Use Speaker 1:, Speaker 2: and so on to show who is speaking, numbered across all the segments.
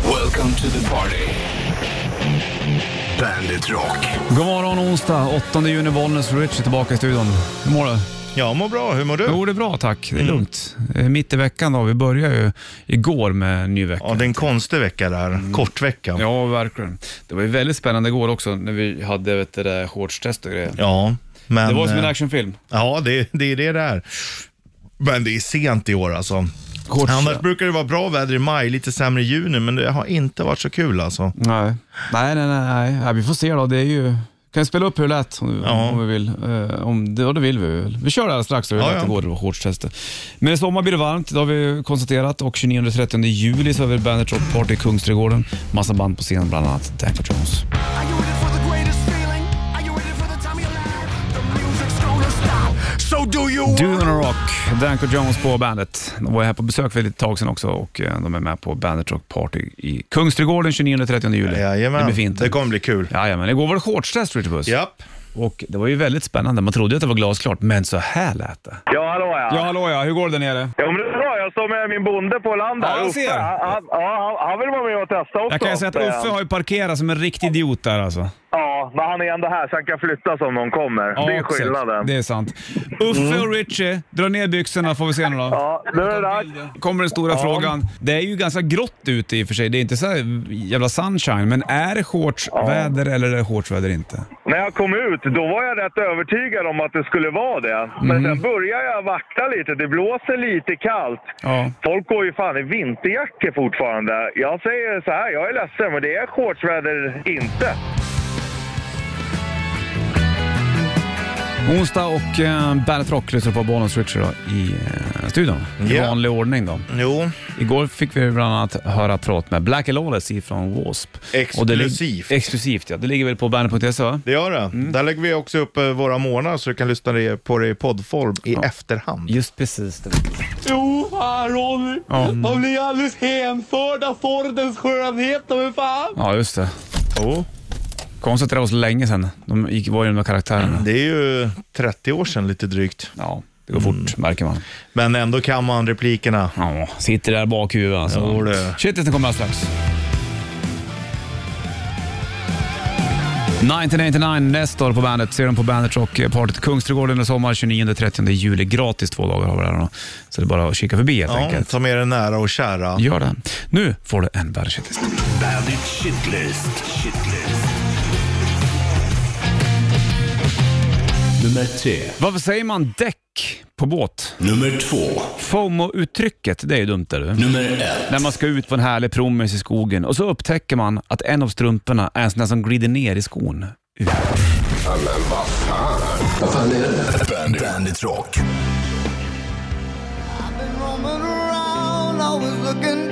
Speaker 1: Welcome to the party. Bandit Rock.
Speaker 2: God morgon onsdag, 8 juni, Bollnäs. Rich är tillbaka i studion. Hur mår du?
Speaker 3: Jag mår bra, hur mår du?
Speaker 2: Jo, det är bra tack. Det är lugnt. Eh, Mitt i veckan då. Vi börjar ju igår med en ny vecka.
Speaker 3: Ja, det är en konstig vecka där. Kort vecka. Ja.
Speaker 2: Mm. Ja, verkligen. Det var ju väldigt spännande igår också när vi hade vet du, det där shortstest och grejer.
Speaker 3: men...
Speaker 2: Det var ju som en
Speaker 3: eh,
Speaker 2: actionfilm.
Speaker 3: Ja, det, det är det där. Men det är sent i år alltså.
Speaker 2: Kort-
Speaker 3: Annars brukar det vara bra väder i maj, lite sämre i juni, men det har inte varit så kul alltså.
Speaker 2: Nej. Nej, nej, nej, nej. Ja, vi får se då. Det är ju... Kan vi spela upp hur det lät om,
Speaker 3: Ja.
Speaker 2: om vi vill? Eh, om det, ja, det vill vi väl. Vi kör det här strax, hur det
Speaker 3: Ja,
Speaker 2: lät
Speaker 3: ja.
Speaker 2: igår, det var shortstestet. Men i sommar blir det varmt, det har vi konstaterat. Och 29-30 juli så har vi Bandet Rock Party i Kungsträdgården. Massa band på scenen, bland annat Danko Jones.
Speaker 4: Are you ready for the greatest feeling? Are you ready for the time of your life? The music's gonna stop. So do you
Speaker 2: Dune och Rock, Danko Jones på bandet. De var här på besök för ett litet tag sedan också och eh, de är med på Bandet Rock Party i Kungsträdgården 29-30 juli.
Speaker 3: Jajamän.
Speaker 2: det blir fint.
Speaker 3: Det kommer bli kul.
Speaker 2: Jajamän, igår var det shortstest Richard Puss.
Speaker 3: Japp.
Speaker 2: Och det var ju väldigt spännande. Man trodde ju att det var glasklart, men så här lät det.
Speaker 5: Ja, hallå ja.
Speaker 2: Ja, hallå ja. Hur går det där nere?
Speaker 5: Jo, men det är bra. Jag står med min bonde på landet.
Speaker 2: Ja, jag
Speaker 5: Uffe,
Speaker 2: ser.
Speaker 5: Han, han, ja, han, han vill vara med och testa också.
Speaker 2: Jag kan ju säga att Uffe har ju parkerat som en riktig idiot där alltså.
Speaker 5: Ja, men han är ändå här så han kan flyttas om någon kommer. det
Speaker 2: Ja,
Speaker 5: är
Speaker 2: exakt.
Speaker 5: skillnaden. Mm.
Speaker 2: Det är sant. Uffe och Richie, dra ner byxorna får vi se nu då.
Speaker 5: Ja, nu är det dags.
Speaker 2: Kommer den stora frågan. Det är ju ganska grått ute i och för sig. Det är inte så här jävla sunshine, men är det shortsväder eller är det shortsväder inte?
Speaker 5: När jag kom ut, då var jag rätt övertygad om att det skulle vara det. Men sen började jag vakta lite. Det blåser lite kallt.
Speaker 2: Ja.
Speaker 5: Folk går ju fan i vinterjackor fortfarande. Jag säger så här, jag är ledsen, men det är shortsväder inte.
Speaker 2: Onsdag och eh, Bandet Rock lyssnar på Bonus Richard då, i eh, studion. I
Speaker 3: Ja.
Speaker 2: vanlig ordning då.
Speaker 3: Jo,
Speaker 2: Igår fick vi bland annat höra prat med Black Lawless ifrån W.A.S.P. Och det lig-
Speaker 3: Exklusivt.
Speaker 2: Exklusivt ja. Det ligger väl på bandet.se E, va?
Speaker 3: det gör det.
Speaker 2: Mm.
Speaker 3: Där lägger vi också upp eh, våra månader så du kan lyssna det- på det i poddform i efterhand.
Speaker 2: Just precis. Det.
Speaker 6: Jo, fan Ronny. Man blir alldeles hänförd av Fordens skönhet. Men fan.
Speaker 2: Ja, just det.
Speaker 3: Jo,
Speaker 2: Konstigt att det var så länge sedan. De gick, var ju de där karaktärerna.
Speaker 3: Det är ju 30 år sedan lite drygt.
Speaker 2: Ja, det går fort märker man.
Speaker 3: Men ändå kan man replikerna.
Speaker 2: Ja, sitter där bak i huvudet alltså.
Speaker 3: Jo, det.
Speaker 2: Shitet kommer alldeles strax. 1989, Nestor på bandet. Ser dem på Bandet Rock Party Kungsträdgården i sommar 29-30 juli. Gratis två dagar har vi där då. Så det är bara att kika förbi helt
Speaker 3: Ja,
Speaker 2: enkelt.
Speaker 3: ta med dig nära och kära.
Speaker 2: Gör det. Nu får du en värdekändis.
Speaker 1: Bandit Shitlist. Shitlist. Nummer tre.
Speaker 2: Varför säger man däck på båt?
Speaker 1: Nummer två.
Speaker 2: FOMO-uttrycket, det är ju dumt det du.
Speaker 1: Nummer ett.
Speaker 2: När man ska ut på en härlig promenad i skogen och så upptäcker man att en av strumporna är en sån där som glider ner i skon.
Speaker 1: Vad fan är det? Bandit, Bandit Rock.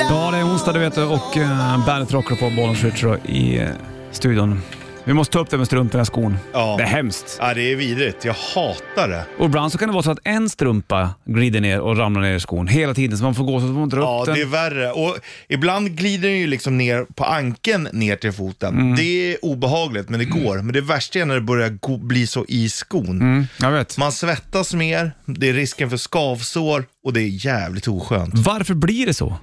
Speaker 2: Ja, det är onsdag du vet du, och eh, bandet rockar på Bollens Ritcher i eh, studion. Vi måste ta upp det med strumporna i skon.
Speaker 3: Ja.
Speaker 2: Det är hemskt.
Speaker 3: Ja, det är vidrigt. Jag hatar det.
Speaker 2: Och ibland så kan det vara så att en strumpa glider ner och ramlar ner i skon hela tiden så man får gå så att man drar upp
Speaker 3: Ja,
Speaker 2: den.
Speaker 3: det är värre. Och ibland glider den ju liksom ner på ankeln ner till foten.
Speaker 2: Mm.
Speaker 3: Det är obehagligt, men det går. Men det värsta är när det börjar gå, bli så i skon.
Speaker 2: Mm, jag vet.
Speaker 3: Man svettas mer, det är risken för skavsår och det är jävligt oskönt.
Speaker 2: Varför blir det så?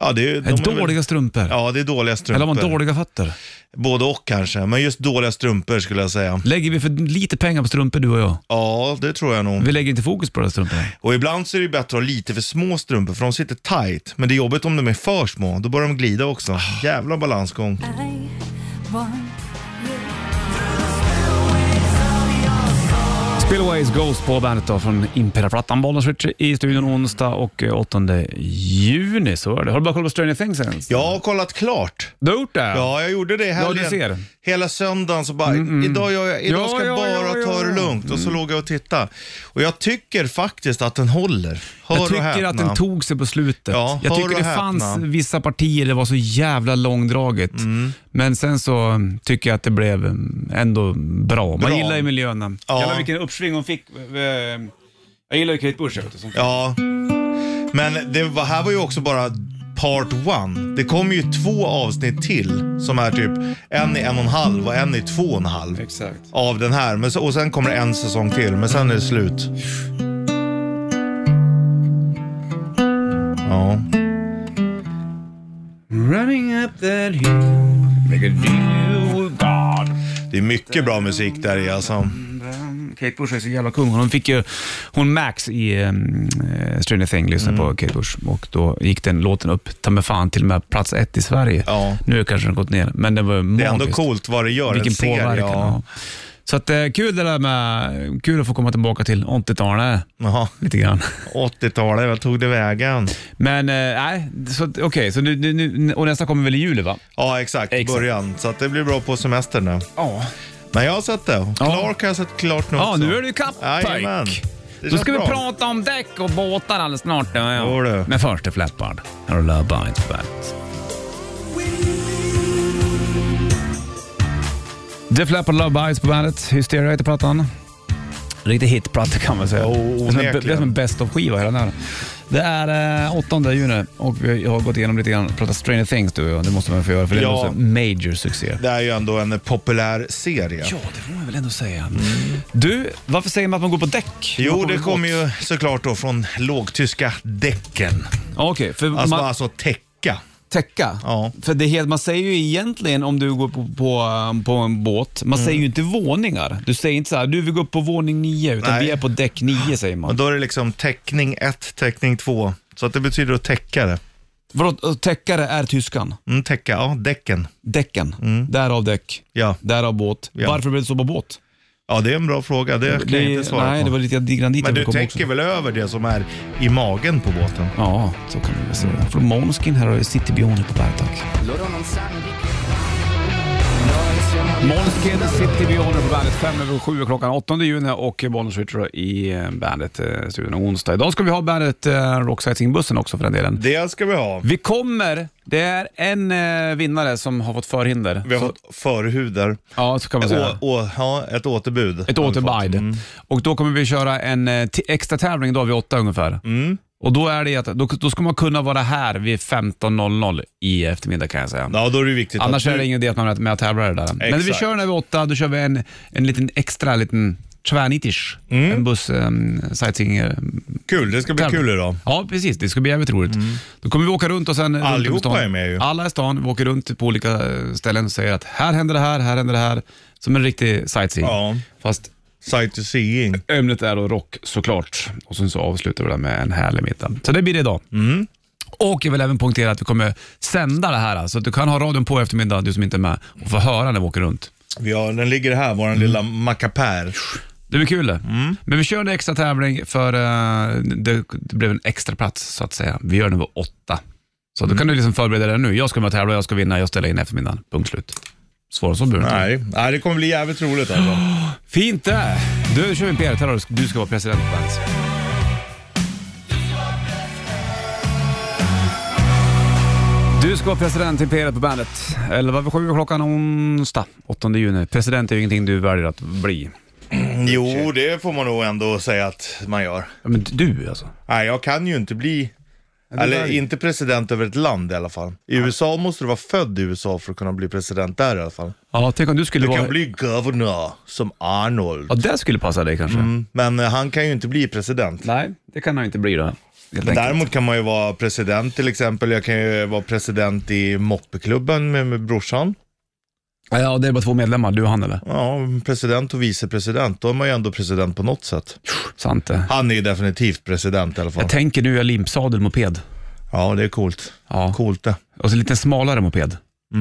Speaker 3: Ja, det är, de är väl-
Speaker 2: dåliga strumpor?
Speaker 3: Ja, det är dåliga strumpor.
Speaker 2: Eller har man dåliga fötter?
Speaker 3: Både och kanske, men just dåliga strumpor skulle jag säga.
Speaker 2: Lägger vi för lite pengar på strumpor du och jag?
Speaker 3: Ja, det tror jag nog.
Speaker 2: Vi lägger inte fokus på de här strumporna.
Speaker 3: Och ibland så är det ju bättre att ha lite för små strumpor för de sitter tight. Men det är jobbigt om de är för små, då börjar de glida också. Jävla balansgång.
Speaker 7: I want
Speaker 2: Spillways Ghost på bandet då från Impera-plattan. Bollnäs Ritchie i studion onsdag och eh, 8 juni. Så är det. Har du bara kollat på Stranger Things än?
Speaker 3: Jag har kollat klart.
Speaker 2: Du har gjort det?
Speaker 3: Ja, jag gjorde det i helgen.
Speaker 2: Ja, du ser. Mm,
Speaker 3: Hela söndagen så bara, idag, gör jag, idag
Speaker 2: Ja,
Speaker 3: ska jag
Speaker 2: ja,
Speaker 3: bara
Speaker 2: ja, ja,
Speaker 3: ta det
Speaker 2: ja. Mm.
Speaker 3: lugnt. Och så låg jag och tittade. Och jag tycker faktiskt att den håller. Hör
Speaker 2: Jag
Speaker 3: och
Speaker 2: tycker
Speaker 3: häpna.
Speaker 2: att den tog sig på slutet.
Speaker 3: Ja,
Speaker 2: jag
Speaker 3: hör
Speaker 2: tycker
Speaker 3: och
Speaker 2: det
Speaker 3: häpna. Mm.
Speaker 2: fanns vissa partier det var så jävla långdraget. Men sen så mm, tycker jag att det blev mm, ändå bra. Man
Speaker 3: Bra.
Speaker 2: gillar ju miljöerna.
Speaker 3: Ja.
Speaker 2: Jävlar vilken uppsving hon fick. eh, eh, Jag gillar ju Kate Bush. jag vet inte, som-
Speaker 3: Ja, men det var, här var ju också bara part one. Det kommer ju två avsnitt till som är typ en i en och en halv och en i två och en halv.
Speaker 2: Exakt.
Speaker 3: Av den här. Men så, och sen kommer det en säsong till, men sen är det slut. Ja.
Speaker 2: Running up that hill, make a deal with God.
Speaker 3: Det är mycket bra musik där i alltså.
Speaker 2: Mm, Kate Bush är så jävla kung. Hon fick ju, hon Max i um, Stranger Things lyssnade
Speaker 3: Mm.
Speaker 2: på Kate Bush och då gick den låten upp, ta mig fan, till och med plats ett i Sverige.
Speaker 3: Ja.
Speaker 2: Nu kanske den gått ner, men den var ju
Speaker 3: Det är ändå
Speaker 2: magisk.
Speaker 3: coolt vad det gör.
Speaker 2: Vilken
Speaker 3: en serie,
Speaker 2: påverkan. Ja.
Speaker 3: ja.
Speaker 2: Så att, eh, kul det där med, kul att få komma tillbaka till 80-talet
Speaker 3: Jaha.
Speaker 2: lite grann.
Speaker 3: 80-talet, vad tog det vägen?
Speaker 2: Men eh, nej, så att, okej, så nu, nu, nu, och nästa kommer väl i juli va?
Speaker 3: Ja, exakt.
Speaker 2: Exakt.
Speaker 3: Början. Så att det blir bra på semestern nu.
Speaker 2: Ja.
Speaker 3: Men jag har sett det.
Speaker 2: Ja.
Speaker 3: Clark har jag sett klart nu
Speaker 2: Ja,
Speaker 3: också.
Speaker 2: nu är du i kapp
Speaker 3: Jajamän.
Speaker 2: pojk.
Speaker 3: Det
Speaker 2: Då
Speaker 3: känns
Speaker 2: ska vi
Speaker 3: bra.
Speaker 2: prata om däck och båtar alldeles snart. Ja, ja.
Speaker 3: Jo, du.
Speaker 2: Men först är Flappard. Här har Love Bites på bandet. The Flappard Love Bites på bandet. Hysteria heter plattan. Riktig hitplatta kan man säga.
Speaker 3: Jo,
Speaker 2: det är som en- det är som
Speaker 3: onekligen.
Speaker 2: en best of skiva hela den här. Det är eh, 8 juni och vi har gått igenom lite grann, pratat Stranger Things du och jag. Det måste man få göra för det är
Speaker 3: Ja.
Speaker 2: också en major succé.
Speaker 3: Det är ju ändå en populär serie.
Speaker 2: Ja, det får man väl ändå säga. Du, varför säger man att man går på däck? Man
Speaker 3: Mm. Jo, det
Speaker 2: väl
Speaker 3: kommer
Speaker 2: åt-
Speaker 3: ju såklart då från lågtyska däcken.
Speaker 2: Ja, Okej, för
Speaker 3: Alltså,
Speaker 2: man,
Speaker 3: alltså täcka.
Speaker 2: täcka.
Speaker 3: Ja.
Speaker 2: För det, heter- man säger ju egentligen om du går på, på, um, på en båt,
Speaker 3: Mm.
Speaker 2: man säger ju inte våningar. Du säger inte så här, du vi går upp på våning nio, utan
Speaker 3: Nej.
Speaker 2: vi är på däck nio säger
Speaker 3: Och
Speaker 2: man.
Speaker 3: då är det liksom täckning 1, täckning 2. Så att det betyder att täcka det.
Speaker 2: Vadå, täckare är tyskan?
Speaker 3: Mm, täcka, ja, däcken.
Speaker 2: Däcken. Därav däck,
Speaker 3: Ja.
Speaker 2: därav båt.
Speaker 3: Mm. Ja.
Speaker 2: Varför blev det så på båt?
Speaker 3: ja, det är en bra fråga. Det kan jag inte svara
Speaker 2: nej,
Speaker 3: på.
Speaker 2: det var lite grann dit
Speaker 3: Men
Speaker 2: jag
Speaker 3: du
Speaker 2: ville komma
Speaker 3: täcker
Speaker 2: också.
Speaker 3: väl över det som är i magen på båten?
Speaker 2: Ja, så kan vi väl säga. Från Måneskin här har du City Beyond på bandet tack. Måneskin, City Beyond på bandet. Fem över sju klockan 8 juni och Bonus Ritual i eh, bandet eh, studion onsdag. Idag ska vi ha bandet eh, Rocksightseeing-bussen också för den delen.
Speaker 3: Det ska vi ha.
Speaker 2: Vi kommer, det är en eh, vinnare som har fått förhinder.
Speaker 3: Vi har
Speaker 2: så,
Speaker 3: fått förhudar.
Speaker 2: Ja, så kan man säga.
Speaker 3: Å, å, ja, ett återbud.
Speaker 2: Ett
Speaker 3: har vi fått.
Speaker 2: återbide. Och då kommer vi köra en eh, ti- extra tävling idag vid åtta ungefär.
Speaker 3: Mm.
Speaker 2: Och då är det att, då, då ska man kunna vara här vid 15.00 i eftermiddag kan jag säga.
Speaker 3: Ja, då är det viktigt
Speaker 2: Annars
Speaker 3: att
Speaker 2: är det ingen idé att man är med och tävlar i det där. Men vi
Speaker 3: Exakt.
Speaker 2: kör den här vid åtta, då kör vi en, en liten extra liten tvärnitish. En buss um, sightseeing. eh,
Speaker 3: Kul, det Mm. ska bli
Speaker 2: tävling.
Speaker 3: kul idag. Mm.
Speaker 2: Ja, precis. Det ska bli jävligt roligt. Då kommer vi åka runt och sen... runt om i
Speaker 3: Allihopa
Speaker 2: stan.
Speaker 3: är med ju.
Speaker 2: Alla i stan. Vi åker runt på olika eh, ställen och säger att här händer det här, här händer det här. Som en riktig sightseeing.
Speaker 3: Ja.
Speaker 2: Fast
Speaker 3: Sightseeing.
Speaker 2: Ämnet är då rock såklart. Och sen så avslutar vi det med en härlig middag. Så det blir det idag. Och jag vill även poängtera att vi kommer sända det här. Så att du kan ha radion på i eftermiddag, du som inte är med, och få höra när vi åker runt.
Speaker 3: Vi har, den ligger här, vår
Speaker 2: Mm.
Speaker 3: lilla mackapär.
Speaker 2: Det blir kul det. Men vi kör en extra tävling för eh, det, det blev en extra plats så att säga. Vi gör den vid åtta. Så då kan du liksom förbereda dig nu. Jag ska med och tävla, jag ska vinna, jag ställer in i eftermiddagen. Punkt slut. Svårare än så behöver det inte.
Speaker 3: Nej. Nej, det kommer bli jävligt roligt alltså.
Speaker 2: Fint det! Du kör vi en PR-terror, du ska vara president på bandet. Du ska vara president i PR på bandet. 11 över 7 klockan onsdag 8 juni. President är ju ingenting du väljer att bli. Mm.
Speaker 3: Jo, det får man nog ändå säga att man gör.
Speaker 2: Ja, Men du alltså.
Speaker 3: Nej, jag kan ju inte bli... Eller inte president över ett land i alla fall. I USA måste du vara född i USA för att kunna bli president där i alla fall.
Speaker 2: Ja, tänk om du skulle
Speaker 3: Du
Speaker 2: vara...
Speaker 3: kan bli governor, som Arnold.
Speaker 2: Ja, det skulle passa dig kanske.
Speaker 3: Men eh, han kan ju inte bli president.
Speaker 2: Nej, det kan han ju inte bli då. Helt enkelt.
Speaker 3: Däremot kan man ju vara president till exempel. Jag kan ju vara president i moppeklubben med, med brorsan.
Speaker 2: Ja, det är bara två medlemmar, du och han eller?
Speaker 3: Ja, president och vicepresident. Då är man ju ändå president på något sätt.
Speaker 2: Sant det.
Speaker 3: Han är ju definitivt president i alla fall.
Speaker 2: Jag tänker nu, jag limpsadel moped.
Speaker 3: Ja, det är coolt.
Speaker 2: Ja.
Speaker 3: Coolt det.
Speaker 2: Och så Alltså, lite smalare moped.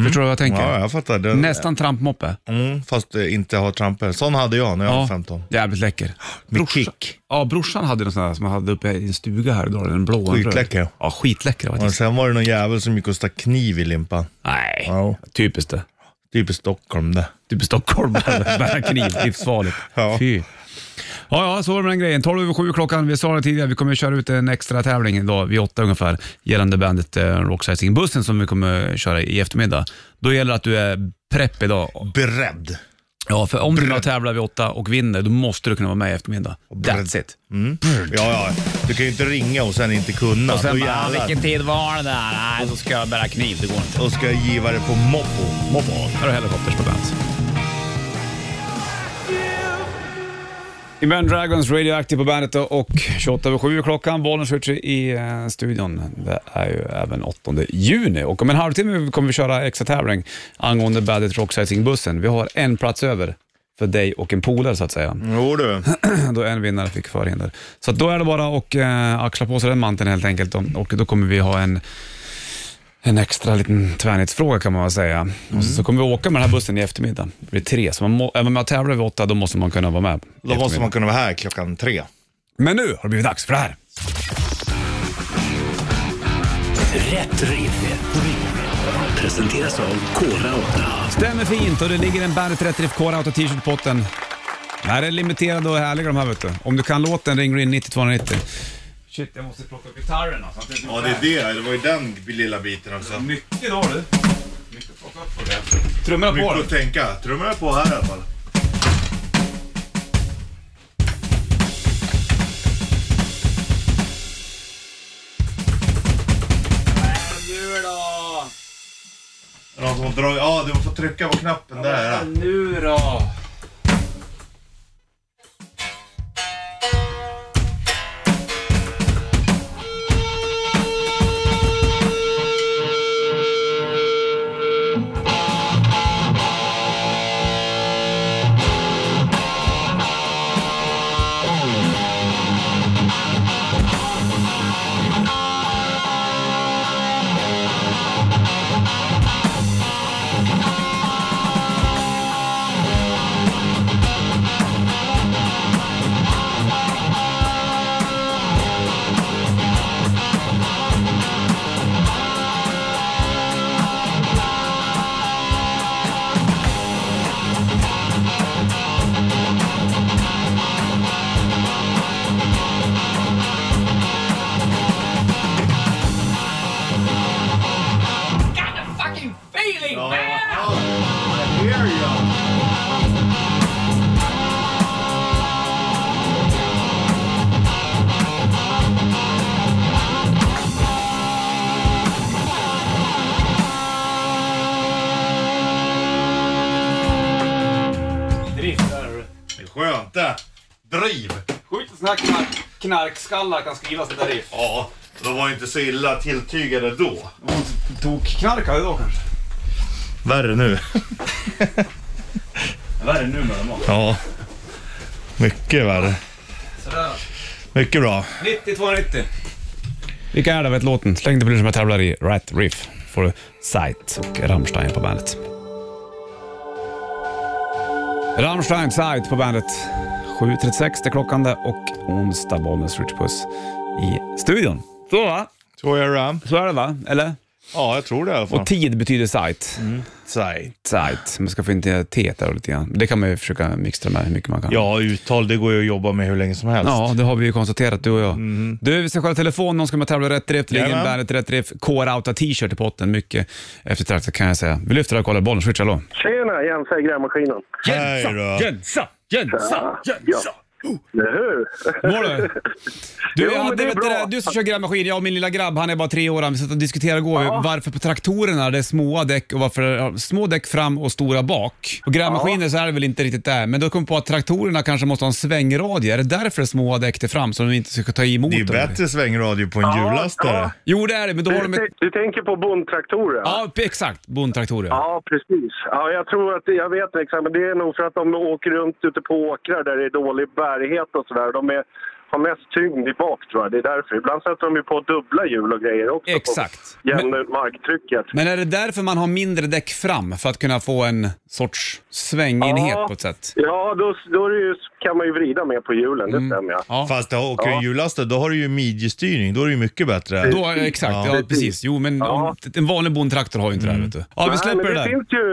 Speaker 2: Förstår du vad jag tänker?
Speaker 3: Mm. Ja, jag fattar. Det,
Speaker 2: Nästan trampmoppe.
Speaker 3: Mm, fast eh, inte ha trampor. Sån hade jag när jag var 15.
Speaker 2: Jävligt läcker.
Speaker 3: Med
Speaker 2: Brorsa-
Speaker 3: kick.
Speaker 2: Ja, brorsan hade någon sån här som han hade uppe i en stuga här idag. Den blå och den röd.
Speaker 3: Skitläcker.
Speaker 2: Ja, skitläcker. Var
Speaker 3: Och
Speaker 2: det.
Speaker 3: sen var det någon jävel som gick och stack kniv i limpan.
Speaker 2: Nej,
Speaker 3: Ja.
Speaker 2: typiskt det.
Speaker 3: Typ i Stockholm det.
Speaker 2: Typ i Stockholm, bära kniv, livsfarligt.
Speaker 3: Ja.
Speaker 2: Fy. Ja, ja, så var det med den grejen. 12 över 7 klockan. Vi sa det tidigare, vi kommer köra ut en extra tävling idag vid åtta ungefär gällande bandet eh, Rocksizing bussen som vi kommer köra i eftermiddag. Då gäller det att du är prepp idag.
Speaker 3: Beredd.
Speaker 2: Ja, för om du nu tävlar vid åtta och vinner, då måste du kunna vara med i eftermiddag. That's it.
Speaker 3: Ja, ja. Du kan ju inte ringa och sen inte kunna.
Speaker 2: Och sen
Speaker 3: Då
Speaker 2: bara,
Speaker 3: jävlar.
Speaker 2: vilken tid var det där? Nej, då ska jag bära kniv. Det går inte.
Speaker 3: Då ska jag ge dig på moppo. Moppo.
Speaker 2: Här har Helicopters på bandet. Imagine Dragons Radioactive på bandet då, och 28 över 7 är klockan. Bollnäs skjuts i eh, studion. Det är ju även 8 juni och om en halvtimme kommer vi köra extra tävling angående Bandet Rock Sightseeing-bussen. Vi har en plats över för dig och en polare så att säga.
Speaker 3: Jo du.
Speaker 2: Då en vinnare fick förhinder. Så att då är det bara att eh, axla på sig den manteln helt enkelt och, och då kommer vi ha en en extra liten tvärnitsfråga kan man väl säga. Och
Speaker 3: Mm.
Speaker 2: så kommer vi åka med den här bussen i eftermiddag. Det blir tre, så man må, även om man tävlar vid åtta, då måste man kunna vara med. i
Speaker 3: Då måste
Speaker 2: eftermiddag.
Speaker 3: man kunna vara här klockan tre.
Speaker 2: Men nu har det blivit dags för det här.
Speaker 1: Rätt riff. Presenteras av Kora 8.
Speaker 2: Stämmer fint och det ligger en Bandet Rätt Riff Core Auto t-shirt i potten. Det här är limiterade och härliga de här vet du. Om du kan låten ringer du in 9290. Shit, jag måste plocka upp gitarren alltså.
Speaker 3: Ja, det är det. Det var ju den lilla biten också.
Speaker 2: Mycket idag du. Mycket att plocka upp på det. Trummorna på
Speaker 3: Mycket
Speaker 2: du.
Speaker 3: att tänka. Trummorna är på här i alla fall.
Speaker 6: Nu då!
Speaker 3: Är det Någon som har dragit... Ja, du får trycka på knappen där.
Speaker 2: Nu då.
Speaker 8: got the fucking feeling,
Speaker 3: Ja.
Speaker 8: man!
Speaker 3: Ja. I hear you. Det är Skönt det. Driv.
Speaker 2: Sjukt att sådana här knark, knarkskallar kan skriva sådana där riff.
Speaker 3: Ja, de var ju inte så illa tilltygade då.
Speaker 2: Tokknarkade då kanske?
Speaker 3: Värre nu.
Speaker 2: Värre nu med dem va?
Speaker 3: Ja. Mycket värre.
Speaker 2: Sådär.
Speaker 3: Mycket bra.
Speaker 2: 9290. Vilka är det? Vet låten? Släng det på luren som jag tävlar i Rat Riff. Får du Sight och Rammstein på bandet. Rammstein Sight på bandet. 7.36 det är klockan det och onsdag Bollnäs Rich Puss i studion. Så va?
Speaker 3: Så är det.
Speaker 2: Så är det va? Eller?
Speaker 3: Ja, jag tror det i alla fall.
Speaker 2: Och tid betyder sight.
Speaker 3: Säg.
Speaker 2: Sight. Man ska få in till T där lite grann. Det kan man ju försöka mixtra med hur mycket man kan.
Speaker 3: Ja, uttal det går ju att jobba med hur länge som helst.
Speaker 2: Ja, det har vi ju konstaterat du och jag. Du, vi ska kolla telefon, någon ska med tävla rätt riff, det ligger en
Speaker 3: Mhm. Jajamän.
Speaker 2: bandet rätt riff, Core Outa t-shirt i potten. Mycket eftertraktat kan jag säga. Vi lyfter och kollar bollen, switch hallå.
Speaker 5: Tjena, Jens här i grävmaskinen.
Speaker 3: Hej då.
Speaker 2: Jensa, Jensa, Jensa!
Speaker 5: Eller hur?
Speaker 2: Mår du? Du,
Speaker 5: Jo,
Speaker 2: jag
Speaker 5: men
Speaker 2: hade,
Speaker 5: det är
Speaker 2: vet du,
Speaker 5: bra.
Speaker 2: det, du som kör grävmaskin, jag och min lilla grabb, han är bara tre år, han, vi satt och diskuterade igår varför på traktorerna det är små däck och varför ja, små däck fram och stora bak. På grävmaskiner så är det väl inte riktigt där, men då kom jag på att traktorerna kanske måste ha en svängradie. Är det därför det är små däck till fram så de inte ska ta emot
Speaker 3: Det är ju
Speaker 2: dem?
Speaker 3: bättre svängradio på en hjullastare.
Speaker 5: ja.
Speaker 2: Jo, det är det, men då har de...
Speaker 5: Du,
Speaker 2: ett-
Speaker 5: du tänker på bondtraktorer?
Speaker 2: Ja, exakt. Bondtraktorer.
Speaker 5: Ja, precis. Ja, jag tror att, jag vet exakt, men det är nog för att de åker runt ute på åkrar där det är dålig bärighet och sådär. De är, har mest tyngd i bak tror jag, det är därför. Ibland sätter de ju på dubbla hjul och grejer också.
Speaker 2: Exakt.
Speaker 5: På jämna ut marktrycket.
Speaker 2: Men är det därför man har mindre däck fram? För att kunna få en sorts svängenhet
Speaker 5: Ja.
Speaker 2: på ett sätt?
Speaker 5: Ja, då, då är det ju, kan man ju vrida mer på hjulen,
Speaker 2: Mm.
Speaker 5: det stämmer ja.
Speaker 2: Ja,
Speaker 3: Fast det åker en hjullastare, då har du ju midjestyrning. Då är det ju mycket bättre.
Speaker 2: då, exakt. Ja,
Speaker 3: Ja.
Speaker 2: precis. Jo, men om, en vanlig bondtraktor har ju inte det här, vet du. Ja, vi
Speaker 5: Mm. Nej,
Speaker 2: släpper
Speaker 5: men
Speaker 2: det
Speaker 5: det
Speaker 2: där.
Speaker 5: finns ju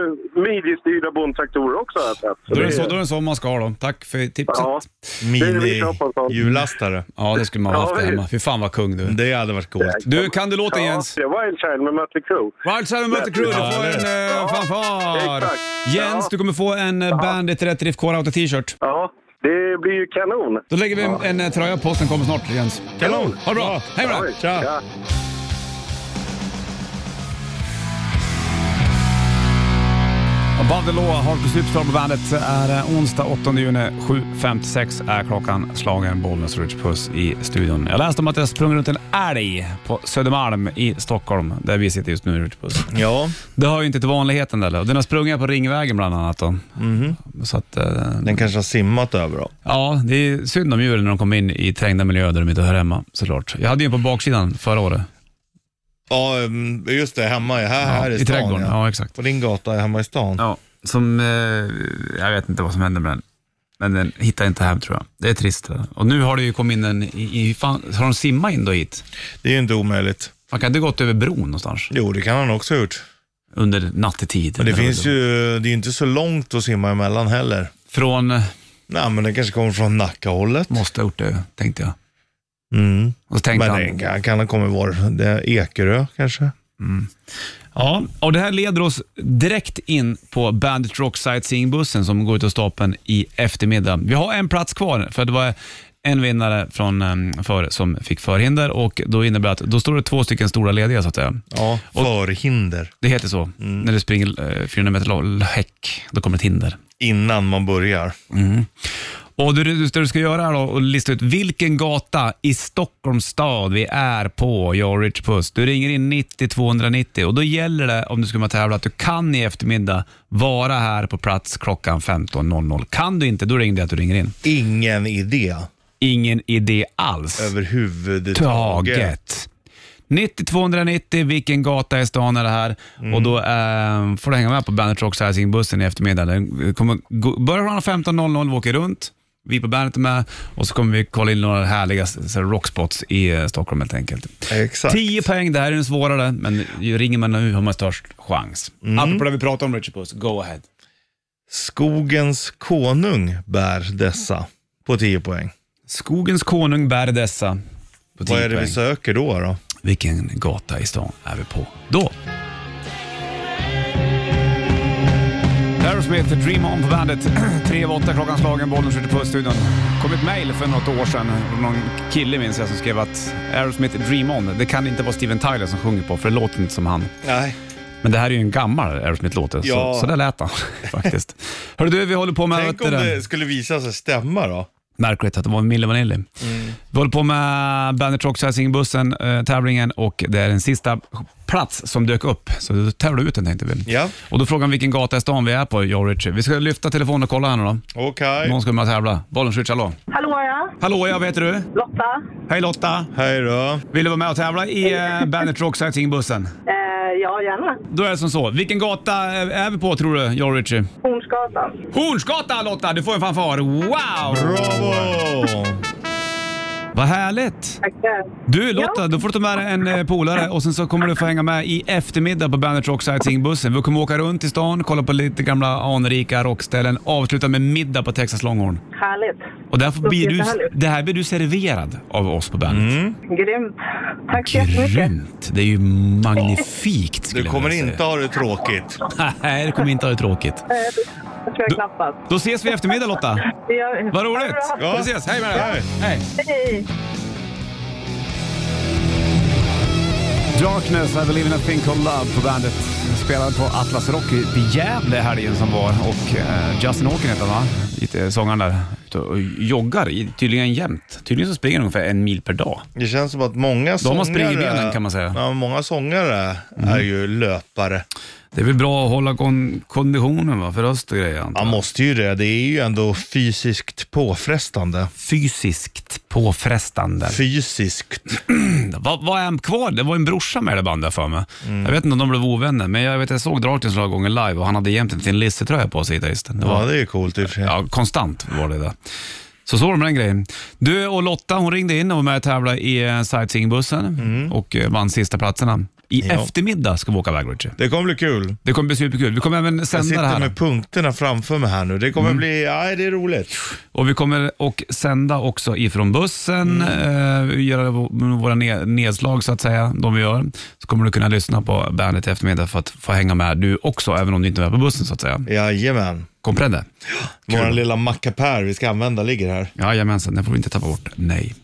Speaker 5: midjestyrda bondtraktorer också har jag sett. Så
Speaker 2: Då är det
Speaker 5: det-
Speaker 2: så, då är det så man ska ha dem. Tack för tipset.
Speaker 5: Ja.
Speaker 2: Ja,
Speaker 3: Mini-hjullastare.
Speaker 2: det skulle man ha haft
Speaker 5: Ja,
Speaker 2: där
Speaker 5: det-
Speaker 2: hemma. Fy fan vad kung du är.
Speaker 3: Det hade varit coolt.
Speaker 2: Du, kan du låten
Speaker 5: Ja,
Speaker 2: Jens?
Speaker 5: det är Wild Child med Mötley Crüe.
Speaker 2: Wild Seven möter Crew, du
Speaker 3: Ja,
Speaker 2: får en
Speaker 3: det.
Speaker 2: eh, fanfar.
Speaker 5: exakt.
Speaker 2: Jens,
Speaker 5: Ja.
Speaker 2: du kommer få en eh, Bandit Rätt Riff Core Auto t-shirt.
Speaker 5: Ja, det blir ju kanon.
Speaker 2: Då lägger vi en, en eh, tröja på oss, den kommer snart Jens.
Speaker 3: Kanon!
Speaker 2: Ha det bra, hej med dig!
Speaker 3: Tja.
Speaker 5: Ja.
Speaker 2: Ja, Above the Law, Harkus Superstar på bandet, är eh, onsdag 8 juni. 7.56 är klockan. Slagen Bollnäs Rich Puss i studion. Jag läste om att jag sprung runt en älg på Södermalm i Stockholm, där vi sitter just nu, Rich Puss.
Speaker 3: Ja,
Speaker 2: Det hör ju inte till vanligheten där. Den har sprungit på Ringvägen bland annat. Då.
Speaker 3: Mhm.
Speaker 2: Så att, eh,
Speaker 3: den kanske har simmat över då.
Speaker 2: ja, det är synd om djuren när de kommer in i trängda miljöer där de inte hör hemma, såklart. Jag hade ju en på baksidan förra året.
Speaker 3: Ja, mm, just det. Hemma här, här i,
Speaker 2: I
Speaker 3: stan.
Speaker 2: trädgården,
Speaker 3: ja.
Speaker 2: ja exakt.
Speaker 3: På din gata hemma i stan.
Speaker 2: Ja, som, eh, jag vet inte vad som hände med den. Men den hittar inte hem tror jag. Det är trist. det där. Och nu har det ju kommit in en, i, i, fan, har de simmat in då hit?
Speaker 3: Det är ju inte omöjligt.
Speaker 2: Man kan inte gått över bron någonstans
Speaker 3: Jo, det kan han också ha gjort.
Speaker 2: under nattetid.
Speaker 3: Men det
Speaker 2: Eller
Speaker 3: finns
Speaker 2: vad
Speaker 3: ju, det är ju inte så långt att simma emellan heller.
Speaker 2: Från, eh,
Speaker 3: Nej, men det kanske kommer från Nackahållet.
Speaker 2: måste ha gjort det, tänkte jag.
Speaker 3: Mm.
Speaker 2: Och så tänkte han,
Speaker 3: Men det kan, kan ha kommit var, det är Ekerö kanske.
Speaker 2: Ja, och det här leder oss direkt in på Bandit Rock Sightseeing-bussen som går ut ur stapeln i eftermiddag. Vi har en plats kvar, för det var en vinnare från em, förr som fick förhinder och då innebär att då står det två stycken stora lediga så att säga.
Speaker 3: Ja, förhinder.
Speaker 2: Det heter så. När du springer eh, 400 meter lång häck, då kommer ett hinder.
Speaker 3: Innan man börjar.
Speaker 2: Mm. Och det du, det du ska göra är då att lista ut vilken gata i Stockholms stad vi är på, jag och Rich Puss. Du ringer in 90 290 och då gäller det, om du ska vara tävla, att du kan i eftermiddag vara här på plats klockan 15.00. Kan du inte, då ringer det att du ringer in.
Speaker 3: Ingen idé
Speaker 2: Ingen idé alls.
Speaker 3: överhuvudtaget.
Speaker 2: taget. 90-290, vilken gata i stan är det här? Och då eh, får du hänga med på Bandet Rock Sizing-bussen i eftermiddag. Den kommer gå, börjar klockan 15.00, vi åker runt. Vi på bandet är med och så kommer vi kolla in några härliga så här, rockspots i eh, Stockholm helt enkelt.
Speaker 3: Exakt.
Speaker 2: 10 poäng, det här är den svårare, men ju ringer man nu har man störst chans.
Speaker 3: Mm.
Speaker 2: Apropå det vi pratade om, Richard Puss, go ahead.
Speaker 3: Skogens konung bär dessa på 10 poäng.
Speaker 2: Skogens konung bär dessa på 10
Speaker 3: Vad är det
Speaker 2: poäng.
Speaker 3: vi söker då? då?
Speaker 2: Vilken gata i stan är vi på då? Aerosmith, Dream On på bandet. Tre över åtta klockan slagen, bollen skjuter på studion. kom ett mejl för något år sedan från någon kille minns jag som skrev att Aerosmith Dream On, det kan inte vara Steven Tyler som sjunger på för det låter inte som han.
Speaker 3: Nej.
Speaker 2: Men det här är ju en gammal Aerosmith-låt, så,
Speaker 3: Ja.
Speaker 2: så där lät han faktiskt. Hörru du, vi håller på med...
Speaker 3: Tänk
Speaker 2: vet
Speaker 3: om
Speaker 2: du,
Speaker 3: det skulle visa sig stämma då.
Speaker 2: märkligt att det var Mille Vanilli. Vi håller på med Bandit Rock bussen eh, tävlingen och det är den sista plats som dök upp. Så du tävlar ut den tänkte vi.
Speaker 3: Ja.
Speaker 2: Och då frågar vi vilken gata i stan vi är på, jag och Richie. Vi ska lyfta telefonen och kolla här nu då.
Speaker 3: Okej.
Speaker 2: Någon ska med och tävla. Bollenswitch, hallå.
Speaker 9: Hallå ja,
Speaker 2: Hallå, jag heter du?
Speaker 9: Lotta.
Speaker 2: Hej Lotta.
Speaker 3: Hej då.
Speaker 2: Vill du vara med och tävla i eh, Bandit Rock bussen
Speaker 9: Eh, ja, gärna.
Speaker 2: Då är det som så. Vilken gata eh, är vi på tror du, jag och Richie?
Speaker 9: Hornsgatan.
Speaker 2: Hornsgatan Lotta! Du får en fanfar. Wow!
Speaker 3: Bravo!
Speaker 2: Vad härligt!
Speaker 9: Tackar.
Speaker 2: Du Lotta, då får du ta med dig en eh, polare och sen så kommer du få hänga med i eftermiddag på Bandit Rock Sightseeing-bussen. Vi kommer åka runt i stan, kolla på lite gamla anrika rockställen, avsluta med middag på Texas Longhorn.
Speaker 9: Härligt.
Speaker 2: Och därför blir du,
Speaker 9: Jättehärligt.
Speaker 2: det här blir du serverad av oss på bandet.
Speaker 3: Mm.
Speaker 9: Grymt. Tack så jättemycket.
Speaker 2: Grymt! Det är ju magnifikt skulle
Speaker 3: Du kommer
Speaker 2: jag vilja
Speaker 3: inte ha det tråkigt.
Speaker 2: säga. Nej, det kommer inte ha det tråkigt.
Speaker 9: Det tror jag
Speaker 2: Du-
Speaker 9: knappast.
Speaker 2: Då ses vi i eftermiddag Lotta.
Speaker 9: Det gör-
Speaker 2: Vad roligt!
Speaker 9: Ha det bra.
Speaker 3: Ja.
Speaker 2: Vi ses, hej med dig!
Speaker 3: Hej.
Speaker 2: Hej.
Speaker 9: Hej.
Speaker 2: Darkness, I believe in a thing called love på bandet. Spelade på Atlas Rock i i Gävle helgen som var och eh, Justin Hawken heter han va? Lite sångaren där. Ute och joggar i, tydligen jämt. Tydligen så springer han ungefär en mil per dag.
Speaker 3: Det känns som att många
Speaker 2: De
Speaker 3: sångare...
Speaker 2: har springbenen, kan man säga. Mm.
Speaker 3: Ja, många sångare är ju löpare.
Speaker 2: Det är väl bra att hålla kon- konditionen va? för röst och grejer. antar
Speaker 3: Man
Speaker 2: jag.
Speaker 3: måste ju det. Det är ju ändå fysiskt påfrestande.
Speaker 2: Fysiskt påfrestande.
Speaker 3: Fysiskt.
Speaker 2: Vad vad är han kvar? Det var en brorsa med i det bandet för mig. Jag vet inte om de blev ovänner, men jag vet jag såg Darkness några gånger live och han hade jämt en liten listertröja på sig, gitarristen. Det var-
Speaker 3: Ja, det är ju coolt i och för sig.
Speaker 2: Ja, konstant var det där. Så så var det med den grejen. Du och Lotta, hon ringde in och var med och tävlade i eh, sightseeingbussen och eh, vann sista platserna. I
Speaker 3: Mm. Ja.
Speaker 2: eftermiddag ska vi åka iväg Richie.
Speaker 3: Det kommer bli kul.
Speaker 2: Det kommer bli superkul. Vi kommer även
Speaker 3: Jag
Speaker 2: sända det
Speaker 3: sitter
Speaker 2: här. Mm.
Speaker 3: med punkterna framför mig här nu. Det kommer bli... Nej, det är roligt.
Speaker 2: Och vi kommer och sända också ifrån bussen,
Speaker 3: Mm.
Speaker 2: eh, göra v- våra ne- nedslag så att säga, de vi gör. Så kommer du kunna lyssna på bandet i eftermiddag för att få hänga med du också, även om du inte är med på bussen så att säga.
Speaker 3: Jajamän.
Speaker 2: Comprende?
Speaker 3: Vår lilla mackapär vi ska använda ligger här.
Speaker 2: Jajamensan, den får vi inte tappa bort. Nej.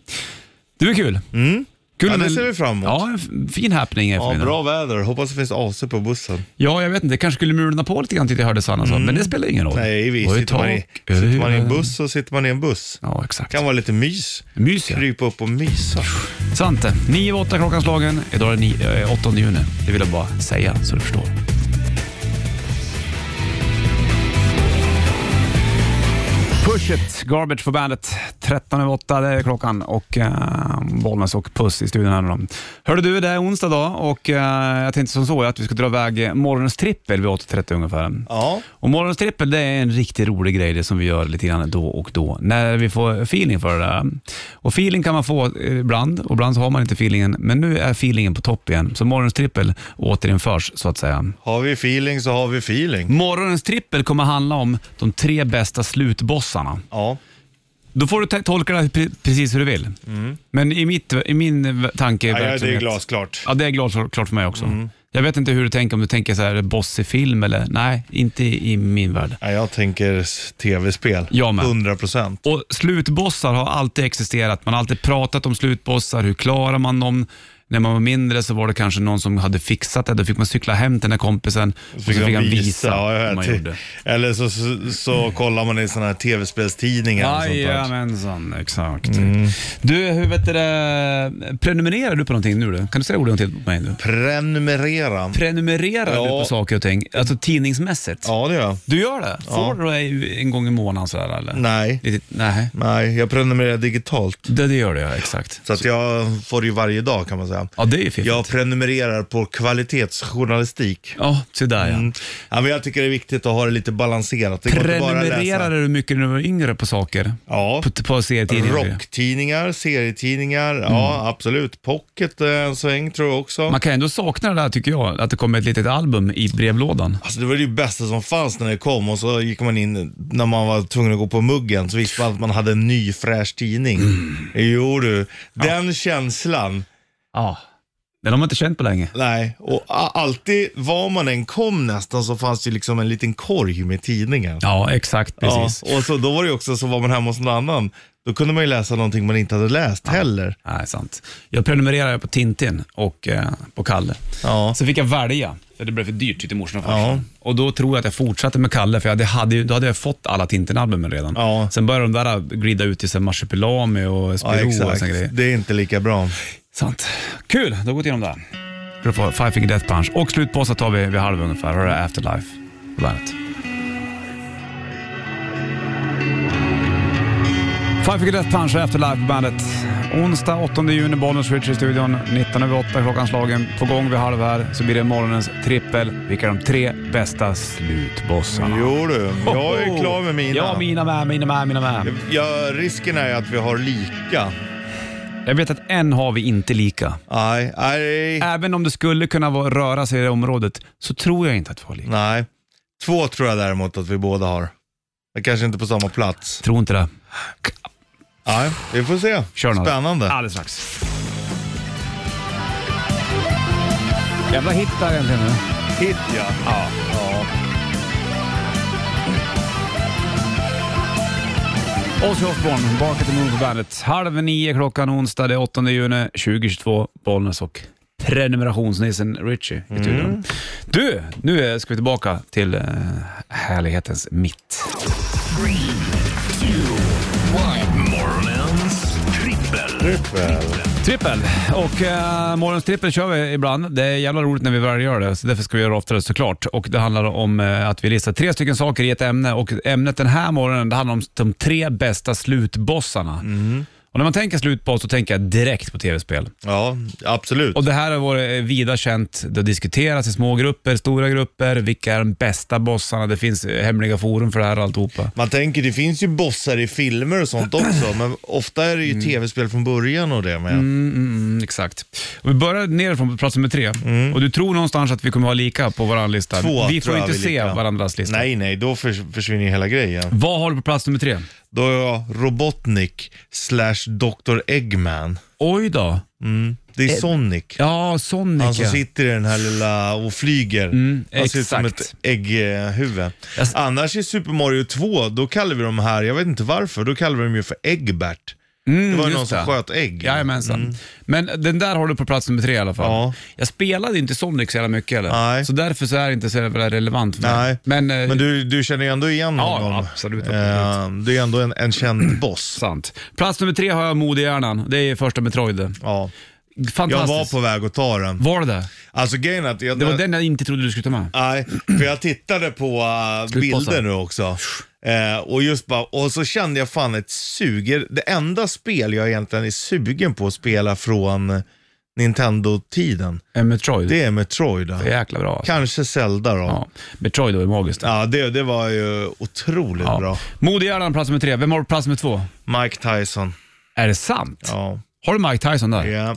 Speaker 2: Det blir kul. Kul
Speaker 3: Mm. Ja, det
Speaker 2: med-
Speaker 3: ser vi fram emot.
Speaker 2: Ja, en f- fin happening i
Speaker 3: Ja,
Speaker 2: eftermiddag.
Speaker 3: bra väder. Hoppas det finns AC på bussen.
Speaker 2: Ja, jag vet inte. Det kanske skulle mulna på lite grann tills jag hörde Sanna sa, men det spelar ingen roll.
Speaker 3: Mm. Nej, vi
Speaker 2: Oj,
Speaker 3: sitter, man i,
Speaker 2: tak,
Speaker 3: sitter man i en
Speaker 2: över.
Speaker 3: buss så sitter man i en buss.
Speaker 2: Ja, exakt.
Speaker 3: Kan vara lite mys.
Speaker 2: Mys, ja.
Speaker 3: Krypa upp och mysa.
Speaker 2: Svante, 9 åtta klockan slagen. Idag är det ni- eh, 8 juni. Det vill jag bara säga så du förstår. Push it, Garbage för bandet. 13 över 8, det är klockan. Och eh, Bollnäs och Puss i studion här med dem. Hörde du, det är onsdag idag och eh, jag tänkte som så att vi ska dra iväg eh, morgonens trippel vid 8.30 ungefär.
Speaker 3: Ja.
Speaker 2: Och morgonens trippel det är en riktigt rolig grej det som vi gör lite grann då och då. När vi får feeling för det. där. Och feeling kan man få eh, ibland och ibland så har man inte feelingen. Men nu är feelingen på topp igen. Så morgonens trippel återinförs så att säga.
Speaker 3: Har vi feeling så har vi
Speaker 2: Mm.
Speaker 3: feeling.
Speaker 2: Morgonens trippel kommer handla om de tre bästa slutbossarna.
Speaker 3: Ja.
Speaker 2: Då får du te- tolka det här pre- precis hur du vill. Men i, mitt, i min tanke...
Speaker 3: Mm. Ja, ja, det är Mm. glasklart.
Speaker 2: Ja, det är glasklart för mig också. Jag vet inte hur du tänker, om du tänker så här boss i film eller... Nej, inte i min värld.
Speaker 3: Ja, jag tänker s- tv-spel.
Speaker 2: Jag med.
Speaker 3: 100 procent.
Speaker 2: Och slutbossar har alltid existerat. Man har alltid pratat om slutbossar, hur klarar man dem? När man var mindre så var det kanske någon som hade fixat det. Då fick man cykla hem till den här kompisen och så fick han visa
Speaker 3: ja, jag
Speaker 2: hur man
Speaker 3: vet.
Speaker 2: gjorde.
Speaker 3: Eller så, så, så kollar man i sådana här tv-spelstidningar. och sånt där. Mm.
Speaker 2: Jajamensan, exakt. Du, hur vet du det, prenumererar du på någonting nu? Då? Kan du säga ordet till på mig nu?
Speaker 3: Prenumerera.
Speaker 2: Prenumererar
Speaker 3: Ja.
Speaker 2: du på saker och ting, alltså tidningsmässigt?
Speaker 3: Ja, det gör jag.
Speaker 2: Du gör det? Får du det en gång i månaden sådär eller?
Speaker 3: Nej.
Speaker 2: Lite, nej,
Speaker 3: Nej, jag prenumererar digitalt.
Speaker 2: det, det gör du ja, exakt.
Speaker 3: Så att jag får det ju varje dag kan man säga.
Speaker 2: Ja, det är ju fiffigt.
Speaker 3: Jag prenumererar på kvalitetsjournalistik.
Speaker 2: Ja, se där ja.
Speaker 3: Mm. Ja, men jag tycker det är viktigt att ha det lite balanserat. Det går inte bara att läsa-
Speaker 2: Prenumererade du mycket när du var yngre på saker?
Speaker 3: Ja.
Speaker 2: På, på serietidningar?
Speaker 3: Rocktidningar, serietidningar, ja absolut. Pocket eh, en sväng tror jag också.
Speaker 2: Mm. Man kan ändå sakna det där tycker jag, att det kommer ett litet album i brevlådan.
Speaker 3: Alltså det var det bästa som fanns när det kom och så gick man in när man var tvungen att gå på muggen så visste man att man hade en ny fräsch tidning.
Speaker 2: Mm.
Speaker 3: Jo du, den känslan.
Speaker 2: Ja. Den har man inte känt på länge.
Speaker 3: Nej, och a- alltid var man än kom nästan så fanns det liksom en liten korg med tidningen.
Speaker 2: Ja, exakt. Precis.
Speaker 3: och så då var det ju också så var man hemma hos någon annan. Då kunde man ju läsa någonting man inte hade läst heller.
Speaker 2: Nej, sant. Jag prenumererade på Tintin och eh, på Kalle.
Speaker 3: Ja.
Speaker 2: Så fick jag välja, för det blev för dyrt tyckte morsan och
Speaker 3: Ja.
Speaker 2: farsan. Och då tror jag att jag fortsatte med Kalle, för jag hade, hade, ju- då hade jag fått alla Tintin-albumen redan.
Speaker 3: Ja.
Speaker 2: Sen började de där glida ut till så här Marsipelami och
Speaker 3: Ja,
Speaker 2: Spiro och såna grejer.
Speaker 3: exakt. Det är inte lika bra.
Speaker 2: Sant. Kul, då har vi gått igenom det. Då får Five Finger Death Punch och slutpåsa tar vi vid halv ungefär. Här är Afterlife på bandet. Five Finger Death Punch och Afterlife på bandet. Onsdag 8 juni, Bollnäs Switch i studion. 19 över 8 klockan slagen. På gång vid halv här så blir det morgonens trippel. Vilka är de tre bästa slutbossarna?
Speaker 3: Jo du, jag är klar med mina.
Speaker 2: Ja, mina med, mina med, mina med.
Speaker 3: Ja, risken är att vi har lika.
Speaker 2: Jag vet att en har vi inte lika.
Speaker 3: Nej, nej,
Speaker 2: Även om det skulle kunna vara, röra sig i det området så tror jag inte att vi har lika.
Speaker 3: nej. Två tror jag däremot att vi båda har. Men kanske inte på samma plats.
Speaker 2: Tror inte det.
Speaker 3: Nej, vi får se.
Speaker 2: Kör något.
Speaker 3: Spännande.
Speaker 2: Alldeles strax. Jävla hit där egentligen. nu.
Speaker 3: Hit ja. ja. ja.
Speaker 2: Ozzy Osbourne, Bark at the Moon på bandet. Halv nio klockan onsdag, det är 8 juni 2022. Bollnäs och prenumerationsnissen Richie
Speaker 3: Mm.
Speaker 2: i studion. Du, nu eh, ska vi tillbaka till eh, härlighetens mitt.
Speaker 1: Morgonens trippel.
Speaker 3: Trippel.
Speaker 2: Trippel! Och eh, morgons trippel kör vi ibland. Det är jävla roligt när vi väl gör det, så därför ska vi göra det oftare såklart. Och det handlar om eh, att vi listar tre stycken saker i ett ämne och ämnet den här morgonen det handlar om de tre bästa slutbossarna. Och när man tänker slutboss så tänker jag direkt på tv-spel.
Speaker 3: Ja, absolut.
Speaker 2: Och det här har varit vida känt. Det har diskuterats i små grupper, stora grupper. Vilka är de bästa bossarna? Det finns eh, hemliga forum för det här och alltihopa.
Speaker 3: Man tänker, det finns ju bossar i filmer och sånt också, men ofta är det ju tv-spel från början och det med.
Speaker 2: Mm, exakt. Och vi börjar nerifrån på plats nummer tre. Och du tror någonstans att vi kommer vara lika på varann lista.
Speaker 3: Mm. Två
Speaker 2: vi
Speaker 3: tror
Speaker 2: får
Speaker 3: jag
Speaker 2: inte
Speaker 3: vi är
Speaker 2: se
Speaker 3: lika.
Speaker 2: varandras lista.
Speaker 3: Nej, nej, då förs- försvinner ju hela grejen.
Speaker 2: Vad har du på plats nummer tre?
Speaker 3: Då är jag Robotnik slash Dr. Eggman.
Speaker 2: Oj då.
Speaker 3: Det är Sonic.
Speaker 2: Ja, Eh, Sonic
Speaker 3: Han som
Speaker 2: ja. Mm,
Speaker 3: sitter i den här lilla och flyger. Han ser ut som
Speaker 2: exakt.
Speaker 3: ett ägghuvud.
Speaker 2: Jag-
Speaker 3: Annars i Super Mario 2, då kallar vi de här, jag vet inte varför, då kallar vi dem ju för Eggbert. det var ju
Speaker 2: Mm, just
Speaker 3: någon som
Speaker 2: det.
Speaker 3: sköt ägg.
Speaker 2: Jajamensan. Men den där har du på plats nummer tre i alla fall.
Speaker 3: Mm. Ja.
Speaker 2: Jag spelade inte Sonic så jävla mycket eller?
Speaker 3: Nej.
Speaker 2: Så därför så är det inte så jävla relevant för mig.
Speaker 3: Nej,
Speaker 2: Men, eh,
Speaker 3: men du, du känner ju ändå igen
Speaker 2: Ja,
Speaker 3: honom.
Speaker 2: absolut,
Speaker 3: Eh, du är ändå en, en känd boss.
Speaker 2: sant. Plats nummer tre har jag Modehjärnan. Det är första Metroid.
Speaker 3: Ja. Jag
Speaker 2: Fantastiskt.
Speaker 3: var på väg att ta den.
Speaker 2: Var det det?
Speaker 3: Alltså grejen är att jag,
Speaker 2: Det var den jag inte trodde du skulle ta med.
Speaker 3: Nej, för jag tittade på äh,
Speaker 2: Slutpåsen.
Speaker 3: bilder nu också. Eh, och just bara, och så kände jag fan ett suger. Det enda spel jag egentligen är sugen på att spela från eh, Nintendo-tiden,
Speaker 2: En Eh, Metroid.
Speaker 3: det är Metroid. Då.
Speaker 2: Det är jäkla bra. Alltså.
Speaker 3: Kanske Zelda då. Ja,
Speaker 2: Ja. Metroid var ju magiskt.
Speaker 3: det, det var ju otroligt bra.
Speaker 2: Modehjärnan plats nummer tre. Vem har du på plats nummer två?
Speaker 3: Mike Tyson.
Speaker 2: Är det sant?
Speaker 3: Ja.
Speaker 2: Har du Mike Tyson där?
Speaker 3: ja.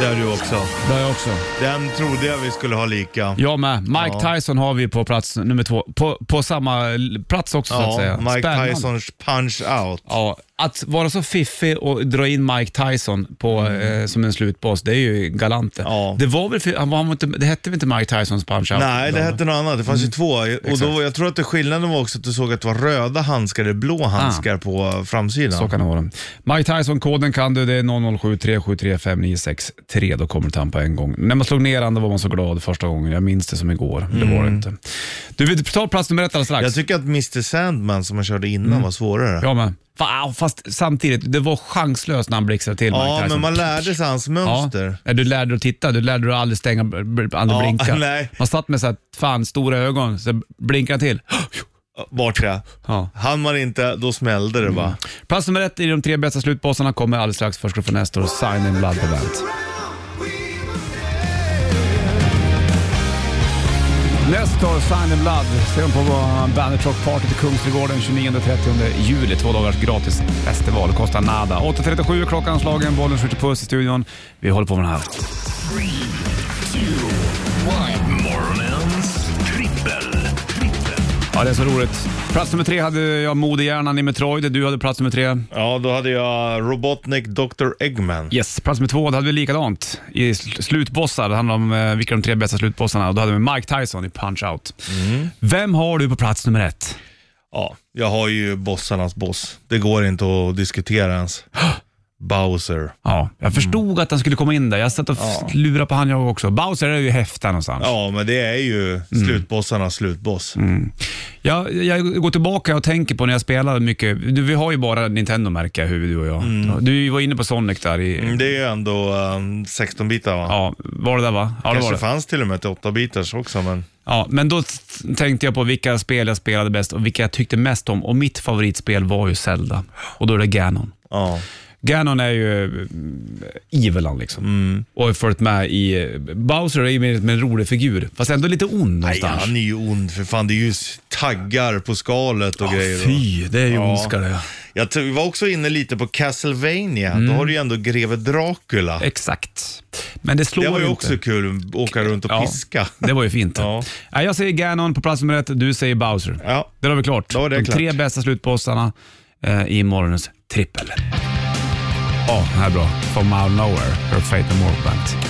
Speaker 3: Det har du också.
Speaker 2: Det har jag också.
Speaker 3: Den trodde jag vi skulle ha lika.
Speaker 2: Jag med. Mike
Speaker 3: Ja.
Speaker 2: Tyson har vi på plats nummer två. På, på samma l- plats också så att säga.
Speaker 3: Ja, Mike
Speaker 2: Spännande.
Speaker 3: Tysons punch-out.
Speaker 2: Ja, att vara så fiffig och dra in Mike Tyson på, eh, som en slutboss, det är ju galant det.
Speaker 3: Mm. Ja.
Speaker 2: Det var väl, för, han var, han var inte, det hette väl inte Mike Tysons punch-out?
Speaker 3: Nej, det hette något annat. Det fanns ju två. Och
Speaker 2: Mm. Exakt.
Speaker 3: då, jag tror att det skillnaden var också att du såg att det var röda handskar eller blå handskar på framsidan.
Speaker 2: Ah. Så kan det vara. Mike Tyson, koden kan du. Det är 0073735963. Då kommer du han på en gång. När man slog ner han, då var man så glad första gången. Jag minns det som igår. Det var det inte. Du, vi tar plats nummer ett alldeles strax.
Speaker 3: Mm. Jag tycker att Mr Sandman som man körde innan var svårare.
Speaker 2: Mm. Ja, men. Fa- Fast samtidigt, det var chanslöst när han blixtrade till
Speaker 3: Ja,
Speaker 2: Mike Tyson.
Speaker 3: men man lärde sig hans mönster.
Speaker 2: Ja, du lärde dig att titta, du lärde dig att aldrig stänga, bl- bl- aldrig
Speaker 3: Ja,
Speaker 2: blinka.
Speaker 3: nej.
Speaker 2: Man satt med så här, fan stora ögon, så blinkade han till.
Speaker 3: Bortre.
Speaker 2: Ja. Mm.
Speaker 3: Han man inte, då smällde det va?
Speaker 2: Plats nummer ett i de tre bästa slutbossarna kommer alldeles strax. Först ska du få nästa och Sign in Blood på bandet. Nestor, Sign in Blood, ser de på vår Bandit Rock Party till Kungsträdgården 29-30 juli. Två dagars gratis festival, kostar nada. 8.37 är klockan slagen, bollen skjuter puss i studion. Vi håller på med den här.
Speaker 1: Morgonens trippel. trippel.
Speaker 2: Ja, det är så roligt. Plats nummer tre hade jag Modehjärnan i Metroid. Du hade plats nummer tre.
Speaker 3: Ja, då hade jag Robotnik Dr. Eggman.
Speaker 2: Yes, plats nummer två, då hade vi likadant. I sl- slutbossar, det handlar om eh, vilka de tre bästa slutbossarna och då hade vi Mike Tyson i Punch-Out.
Speaker 3: Mm.
Speaker 2: Vem har du på plats nummer ett?
Speaker 3: Ja, jag har ju bossarnas boss. Det går inte att diskutera ens. Bowser.
Speaker 2: Ja,
Speaker 3: Mm.
Speaker 2: jag förstod att han skulle komma in där. Jag satt och ja. lurade på han jag också. Bowser är ju häftig någonstans.
Speaker 3: Ja, men det är ju
Speaker 2: Mm.
Speaker 3: slutbossarnas slutboss.
Speaker 2: Jag, jag går tillbaka och tänker på när jag spelade mycket. Du, vi har ju bara Nintendo märker jag, hur du och jag. Du var inne på Sonic där i...
Speaker 3: Mm, Det är ju ändå ehm, 16-bitar va?
Speaker 2: Ja, var det där va? Ja, det var
Speaker 3: Kanske
Speaker 2: det.
Speaker 3: fanns till och med till 8-bitars också, men
Speaker 2: Ja, men då t- tänkte jag på vilka spel jag spelade bäst och vilka jag tyckte mest om. Och mitt favoritspel var ju Zelda. Och då är det Ganon.
Speaker 3: ja.
Speaker 2: Ganon är ju mm, evilan liksom.
Speaker 3: Mm.
Speaker 2: Och har följt med i... Bowser är ju mer som en rolig figur, fast ändå lite ond
Speaker 3: Nej,
Speaker 2: någonstans.
Speaker 3: han är ju ond för fan. Det är ju s- taggar på skalet och grejer. va?
Speaker 2: Fy, det är ju
Speaker 3: Ja.
Speaker 2: ondska det.
Speaker 3: Jag tror- vi var också inne lite på Castlevania.
Speaker 2: Mm.
Speaker 3: Då har du ju ändå greve Dracula.
Speaker 2: Exakt. Men det slår
Speaker 3: Det var ju
Speaker 2: inte.
Speaker 3: också kul, att åka runt och
Speaker 2: Ja,
Speaker 3: piska.
Speaker 2: Det var ju fint.
Speaker 3: Ja.
Speaker 2: Nej, Jag säger Ganon på plats nummer ett, du säger Bowser.
Speaker 3: Ja.
Speaker 2: Där har vi klart.
Speaker 3: Då är det
Speaker 2: De
Speaker 3: klart.
Speaker 2: tre bästa slutbossarna eh, i morgonens trippel. Ja, den här är bra. From out of nowhere, Her Fate and More Band.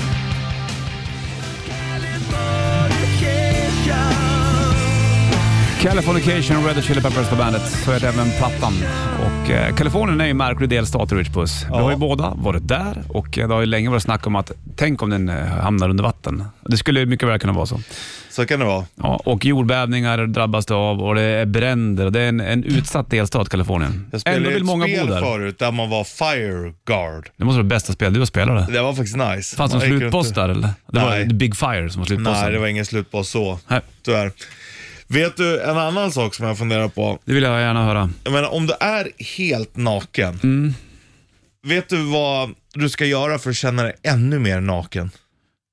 Speaker 2: Californication, Red Hot Chili Peppers på bandet. Så är det även plattan. Och, eh, Kalifornien är ju en märklig delstat, Rich Puss. Vi har ju båda varit där och eh, det har ju länge varit snack om att tänk om den eh, hamnar under vatten. Det skulle ju mycket väl kunna vara så.
Speaker 3: Så kan det vara.
Speaker 2: Ja, och jordbävningar drabbas det av och det är bränder. Det är en, en utsatt delstat, Kalifornien.
Speaker 3: Jag spelade
Speaker 2: Ändå
Speaker 3: ju
Speaker 2: vill
Speaker 3: ett
Speaker 2: många
Speaker 3: spel
Speaker 2: bo där.
Speaker 3: förut där man var Fire Guard.
Speaker 2: Det måste vara det bästa spel du har spelat.
Speaker 3: Det var faktiskt nice.
Speaker 2: Fanns det
Speaker 3: Man
Speaker 2: någon
Speaker 3: gick runt
Speaker 2: slutpost
Speaker 3: och-
Speaker 2: där eller? Det var
Speaker 3: Nej.
Speaker 2: The Big Fire som var slutposten.
Speaker 3: Nej, det var ingen slutboss så.
Speaker 2: Nej.
Speaker 3: Tyvärr. Vet du en annan sak som jag funderar på?
Speaker 2: det vill jag gärna höra.
Speaker 3: Jag menar, om du är helt naken,
Speaker 2: Mm.
Speaker 3: vet du vad du ska göra för att känna dig ännu mer naken?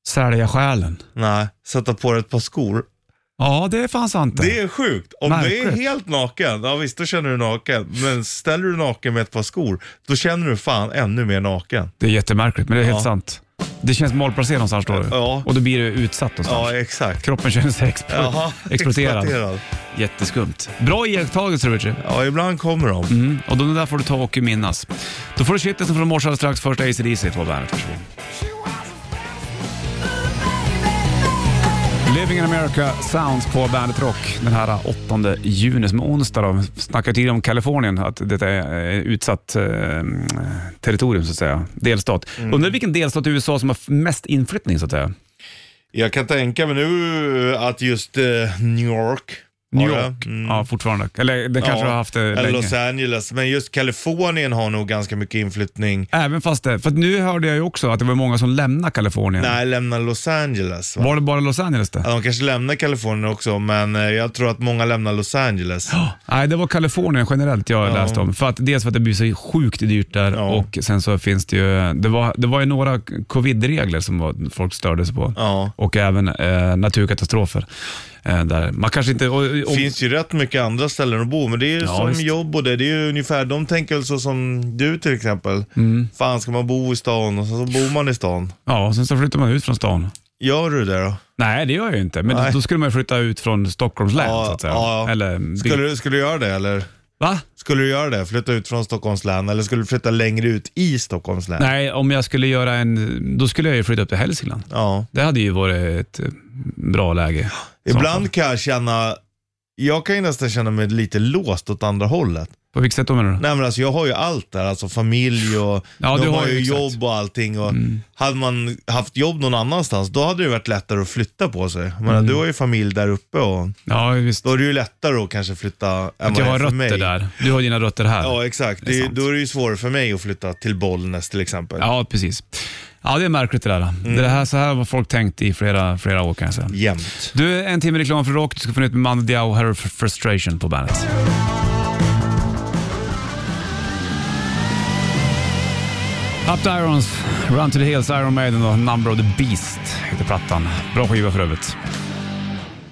Speaker 2: Sälja själen.
Speaker 3: Nej, sätta på dig ett par skor.
Speaker 2: Ja, det är fan sant det.
Speaker 3: Det är sjukt. Om du är
Speaker 2: Märkligt.
Speaker 3: helt naken, ja visst då känner du dig naken. Men ställer du dig naken med ett par skor, då känner du fan ännu mer naken.
Speaker 2: Det är jättemärkligt, men det är helt sant. Det känns malplacerat någonstans då.
Speaker 3: Ja.
Speaker 2: Och då blir du utsatt någonstans.
Speaker 3: Ja, exakt.
Speaker 2: Kroppen känner sig exp-
Speaker 3: Jaha,
Speaker 2: exploaterad. Jätteskumt. Bra iakttagelse, Richard.
Speaker 3: Ja, ibland kommer de.
Speaker 2: Mm, och de där får du ta och minnas. Då får du shitlisten från morse alldeles strax. Först AC DC på bandet. Varsågod.
Speaker 7: She was a fancy, ooh, baby, baby, baby.
Speaker 2: Living in America Sounds på Bandet Rock den här 8 juni, som är onsdag. Då. Vi snackade tidigare om Kalifornien, att det är eh, utsatt eh, territorium, så att säga. Delstat.
Speaker 3: Mm.
Speaker 2: Undrar vilken delstat i USA som har f- mest inflyttning, så att säga.
Speaker 3: Jag kan tänka mig nu att just eh, New York. har Mm.
Speaker 2: New
Speaker 3: det.
Speaker 2: York, ja fortfarande. Eller den kanske
Speaker 3: Ja,
Speaker 2: har haft det
Speaker 3: Eller Los
Speaker 2: länge.
Speaker 3: Angeles. Men just Kalifornien har nog ganska mycket inflyttning.
Speaker 2: Även fast det, för att nu hörde jag ju också att det var många som lämnade Kalifornien.
Speaker 3: Nej, lämnar Los Angeles. Va?
Speaker 2: Var det bara Los Angeles det?
Speaker 3: Ja, De kanske lämnar Kalifornien också, men eh, jag tror att många lämnar Los Angeles.
Speaker 2: Nej, det var Kalifornien generellt jag läste om. För att, dels för att det blir så sjukt dyrt där
Speaker 3: Ja.
Speaker 2: och sen så finns det ju, det var, det var ju några covid-regler som var, folk störde sig på.
Speaker 3: Ja.
Speaker 2: Och även eh, naturkatastrofer. Eh, där. Man kanske inte... Och, och,
Speaker 3: Det finns ju rätt mycket andra ställen att bo, men det är ju
Speaker 2: Ja,
Speaker 3: som
Speaker 2: visst.
Speaker 3: jobb och det. Det är ju ungefär, de tänker väl så som du till exempel.
Speaker 2: Mm.
Speaker 3: Fan, ska man bo i stan? Och så, så bor man i stan.
Speaker 2: ja, och sen så flyttar man ut från stan.
Speaker 3: Gör du det då?
Speaker 2: Nej, det gör jag ju inte. Men
Speaker 3: Nej.
Speaker 2: då skulle man ju flytta ut från Stockholms län
Speaker 3: Ja,
Speaker 2: så att säga.
Speaker 3: ja, ja.
Speaker 2: Eller, by-
Speaker 3: Skulle, du- skulle du göra det eller?
Speaker 2: Va?
Speaker 3: Skulle du göra det? Flytta ut från Stockholms län eller skulle du flytta längre ut i Stockholms län?
Speaker 2: Nej, om jag skulle göra en... Då skulle jag ju flytta upp till Hälsingland.
Speaker 3: Ja.
Speaker 2: Det hade ju varit ett eh, bra läge.
Speaker 3: Ibland kan jag känna, jag kan ju nästan känna mig lite låst åt andra hållet.
Speaker 2: På vilket sätt då menar du?
Speaker 3: Nej men alltså jag har ju allt där, alltså familj och
Speaker 2: Ja,
Speaker 3: de
Speaker 2: du har
Speaker 3: har
Speaker 2: ju
Speaker 3: ju
Speaker 2: exakt. Mm.
Speaker 3: jobb och allting. Och Hade man haft jobb någon annanstans, då hade det varit lättare att flytta på sig. Men
Speaker 2: Mm.
Speaker 3: du har ju familj där uppe och
Speaker 2: Ja, visst.
Speaker 3: då är det ju lättare att kanske flytta än
Speaker 2: Att
Speaker 3: vad
Speaker 2: jag
Speaker 3: det är
Speaker 2: har
Speaker 3: för
Speaker 2: rötter
Speaker 3: mig.
Speaker 2: där. Du har dina rötter här.
Speaker 3: Ja exakt,
Speaker 2: Det är
Speaker 3: det är,
Speaker 2: sant.
Speaker 3: då är det ju svårare för mig att flytta till Bollnäs till exempel.
Speaker 2: Ja, precis. Ja, det är märkligt det där.
Speaker 3: Mm.
Speaker 2: Det här, så här har folk tänkt i flera, flera år kan jag säga.
Speaker 3: Jämt.
Speaker 2: Du, en timme reklam för rock. Du ska få nytt med Mando Diao. Här har du Fr- Frustration på bandet. Up to Irons, Run to the Hills, Iron Maiden och Number of the Beast heter plattan. Bra skiva för övrigt.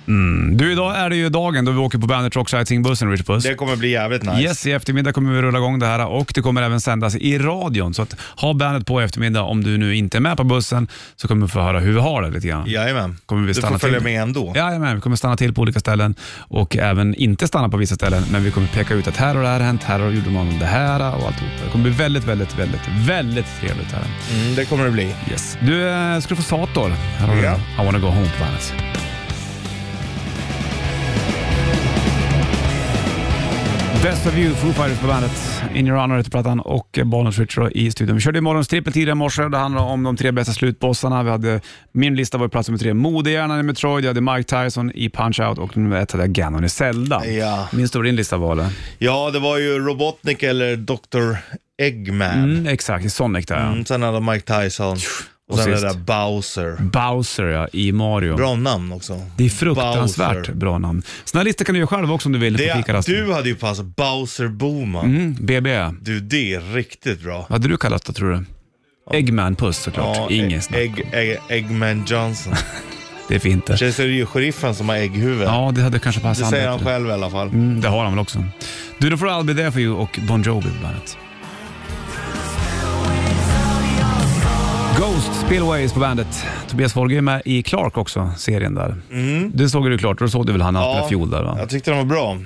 Speaker 2: Mm. Du, idag är det ju dagen då vi åker på Bandet Rock Sightseeing-bussen, Rich Puss.
Speaker 3: Det kommer bli jävligt nice.
Speaker 2: Yes, i eftermiddag kommer vi rulla igång det här och det kommer även sändas i radion. Så att ha bandet på i eftermiddag. Om du nu inte är med på bussen så kommer du få höra hur vi har det lite grann.
Speaker 3: Jajamän.
Speaker 2: Kommer vi
Speaker 3: du
Speaker 2: stanna
Speaker 3: får följa
Speaker 2: till.
Speaker 3: med ändå.
Speaker 2: Jajamän, vi kommer stanna till på olika ställen och även inte stanna på vissa ställen, men vi kommer peka ut att här har det här hänt, här har gjorde man det här och alltihop. Det kommer bli väldigt, väldigt, väldigt, väldigt trevligt här.
Speaker 3: Mm, det kommer det bli.
Speaker 2: Yes. Du, eh, ska du få Sator? Här har du
Speaker 3: Ja.
Speaker 2: den. I wanna go home på bandet. Best of you, Foo Fighters på bandet. In your honor heter plattan och Bono Switcher i studion. Vi körde morgonstrippen tidigare i morse. Det handlade om de tre bästa slutbossarna. Vi hade, min lista var ju plats nummer tre, Modehjärnan i Metroid. Jag hade Mike Tyson i Punch-Out och nummer ett hade jag Gannon i Zelda.
Speaker 3: Ja.
Speaker 2: Minns du vad din lista var eller?
Speaker 3: Ja, det var ju Robotnik eller Dr. Eggman. Mm.
Speaker 2: Mm, exakt, i Sonic där ja.
Speaker 3: sen hade Mike Tyson. Och,
Speaker 2: Och
Speaker 3: sen det
Speaker 2: sist.
Speaker 3: där Bowser.
Speaker 2: Bowser ja, i Mario.
Speaker 3: Bra namn också.
Speaker 2: Det är fruktansvärt
Speaker 3: Bowser.
Speaker 2: bra namn. Såna här listor kan du göra själv också om du vill. på
Speaker 3: Det,
Speaker 2: fikarasten.
Speaker 3: du hade ju passat Bowser Boman.
Speaker 2: Mm, BB. Vad
Speaker 3: Du, det är riktigt bra.
Speaker 2: hade du kallat det tror du? Eggman-puss såklart. Ingen snack.
Speaker 3: Egg, egg, Eggman Johnson.
Speaker 2: Det är fint det.
Speaker 3: Sen så är det ju sheriffen som har ägghuvud.
Speaker 2: Ja, det hade kanske
Speaker 3: det
Speaker 2: passat
Speaker 3: säger han
Speaker 2: bättre.
Speaker 3: själv i alla fall.
Speaker 2: Mm, det har han väl också. Du, då får du I'll Be There For You och Bon Jovi på bandet. Ghost Spillways på bandet. Tobias Forge är med i Clark också, serien där. Det såg du klart, då såg du väl han när han spelade fiol där va?
Speaker 3: Mm. jag tyckte den var bra.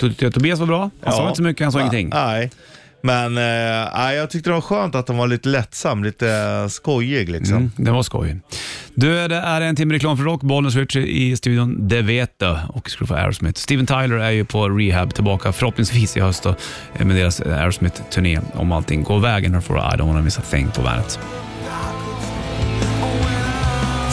Speaker 2: Tyckte jag Tobias var bra, han sa
Speaker 3: Ja.
Speaker 2: inte så mycket, han sa
Speaker 3: Nej,
Speaker 2: ingenting.
Speaker 3: Nej. Men eh, nej, jag tyckte det var skönt att den var lite lättsam, lite skojig liksom.
Speaker 2: Mm, det var skoj. Du, det är en timme reklam för rock. Bollen switch i studion, det vet du. Och ska du få Aerosmith. Steven Tyler är ju på rehab tillbaka förhoppningsvis i höst då, eh, med deras Aerosmith-turné. Om allting går vägen, då får du I don't wanna miss a thing på bandet.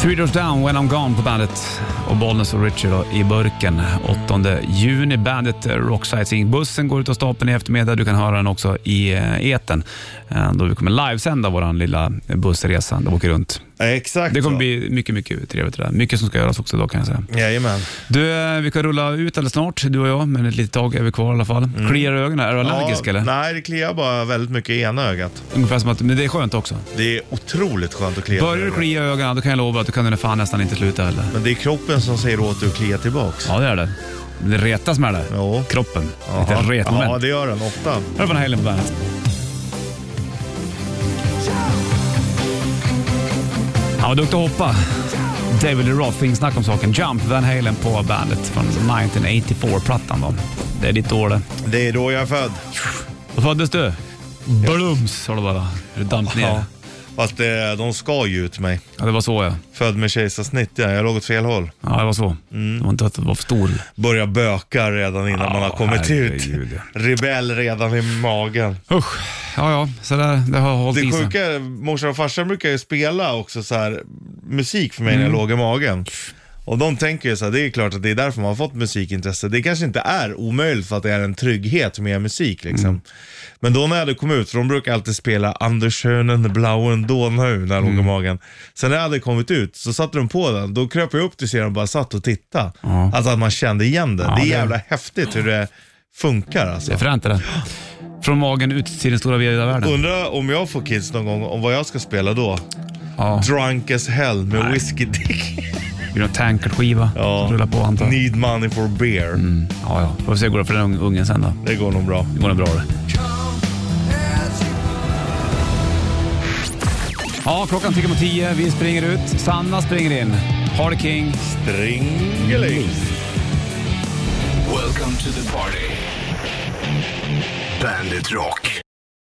Speaker 2: Three Doors Down, When I'm Gone på bandet och Bollnäs och Richard då, i burken. 8 juni, bandet eh, Rock Sightseeing. Bussen går ut av stapeln i eftermiddag. Du kan höra den också i eh, etern eh, då vi kommer livesända vår lilla bussresa där vi åker runt.
Speaker 3: Ja, Exakt
Speaker 2: Det kommer
Speaker 3: så.
Speaker 2: bli mycket, mycket trevligt det där. Mycket som ska göras också idag kan jag säga.
Speaker 3: Jajamän.
Speaker 2: Du, eh, vi kan rulla ut alldeles snart, du och jag, men ett litet tag är vi kvar i alla fall. Kliar i ögonen? Är du allergisk
Speaker 3: Mm. ja,
Speaker 2: eller?
Speaker 3: Nej, det kliar bara väldigt mycket i ena ögat.
Speaker 2: Ungefär som att, men det är skönt också.
Speaker 3: Det är otroligt skönt att klia.
Speaker 2: Börjar
Speaker 3: i
Speaker 2: du
Speaker 3: ögat.
Speaker 2: klia i ögonen, då kan jag lova att du kan fan nästan inte sluta heller.
Speaker 3: Men det är kroppen som säger åt dig att klia tillbaks.
Speaker 2: Ja, det är det. Det retas med det.
Speaker 3: Ja.
Speaker 2: Kroppen.
Speaker 3: Jaha.
Speaker 2: Lite retmoment.
Speaker 3: Ja, det gör den ofta.
Speaker 2: Här var Van Halen på bandet. Han var duktig att hoppa. David Lee Roth, inget snack om saken. Jump, Van Halen på bandet från 1984-plattan. då. Det är ditt år det.
Speaker 3: Det är då jag är född.
Speaker 2: Då föddes du. Blums sa du bara. Du damp ner.
Speaker 3: Ja. Fast eh, de ska ju ut mig.
Speaker 2: Ja, det var så ja.
Speaker 3: Född med kejsarsnitt, ja. Jag låg åt fel håll.
Speaker 2: Ja, det var så. Det var inte att det var för stor.
Speaker 3: Börjar böka redan innan
Speaker 2: Ja,
Speaker 3: man har kommit
Speaker 2: herregud,
Speaker 3: ut.
Speaker 2: ja.
Speaker 3: Rebell redan i magen.
Speaker 2: Usch. Ja, ja. Så där, det har hållit i
Speaker 3: Det
Speaker 2: sig.
Speaker 3: sjuka är, morsan och farsan brukar ju spela också så här, musik för mig när jag låg i magen. Och de tänker ju så här, det är klart att det är därför man har fått musikintresse. Det kanske inte är omöjligt för att det är en trygghet med musik liksom. Men då när jag hade kommit ut, för de brukar alltid spela Anders schönen blauen Donau när jag låg i magen. Sen när jag hade kommit ut så satte de på den, då kröp jag upp till scenen och bara satt och tittade. Alltså att man kände igen det. det är
Speaker 2: det-
Speaker 3: jävla häftigt hur det funkar alltså.
Speaker 2: Det är fränt det där. Från magen ut till den stora vida världen.
Speaker 3: Undrar om jag får kids någon gång, om vad jag ska spela då?
Speaker 2: Ja.
Speaker 3: Drunk as hell med Whiskey Dick.
Speaker 2: Det blir någon tankerskiva
Speaker 3: Ja.
Speaker 2: som rullar på antar jag. Mm.
Speaker 3: Need money for beer.
Speaker 2: Ja, ja. Får vi se hur det går för den ungen sen då.
Speaker 3: Det går nog bra.
Speaker 2: Det går nog bra det. Ja, klockan tickar mot tio. Vi springer ut. Sanna springer in. Harley King.
Speaker 3: Stringeling.
Speaker 1: Welcome to the party. Bandit Rock.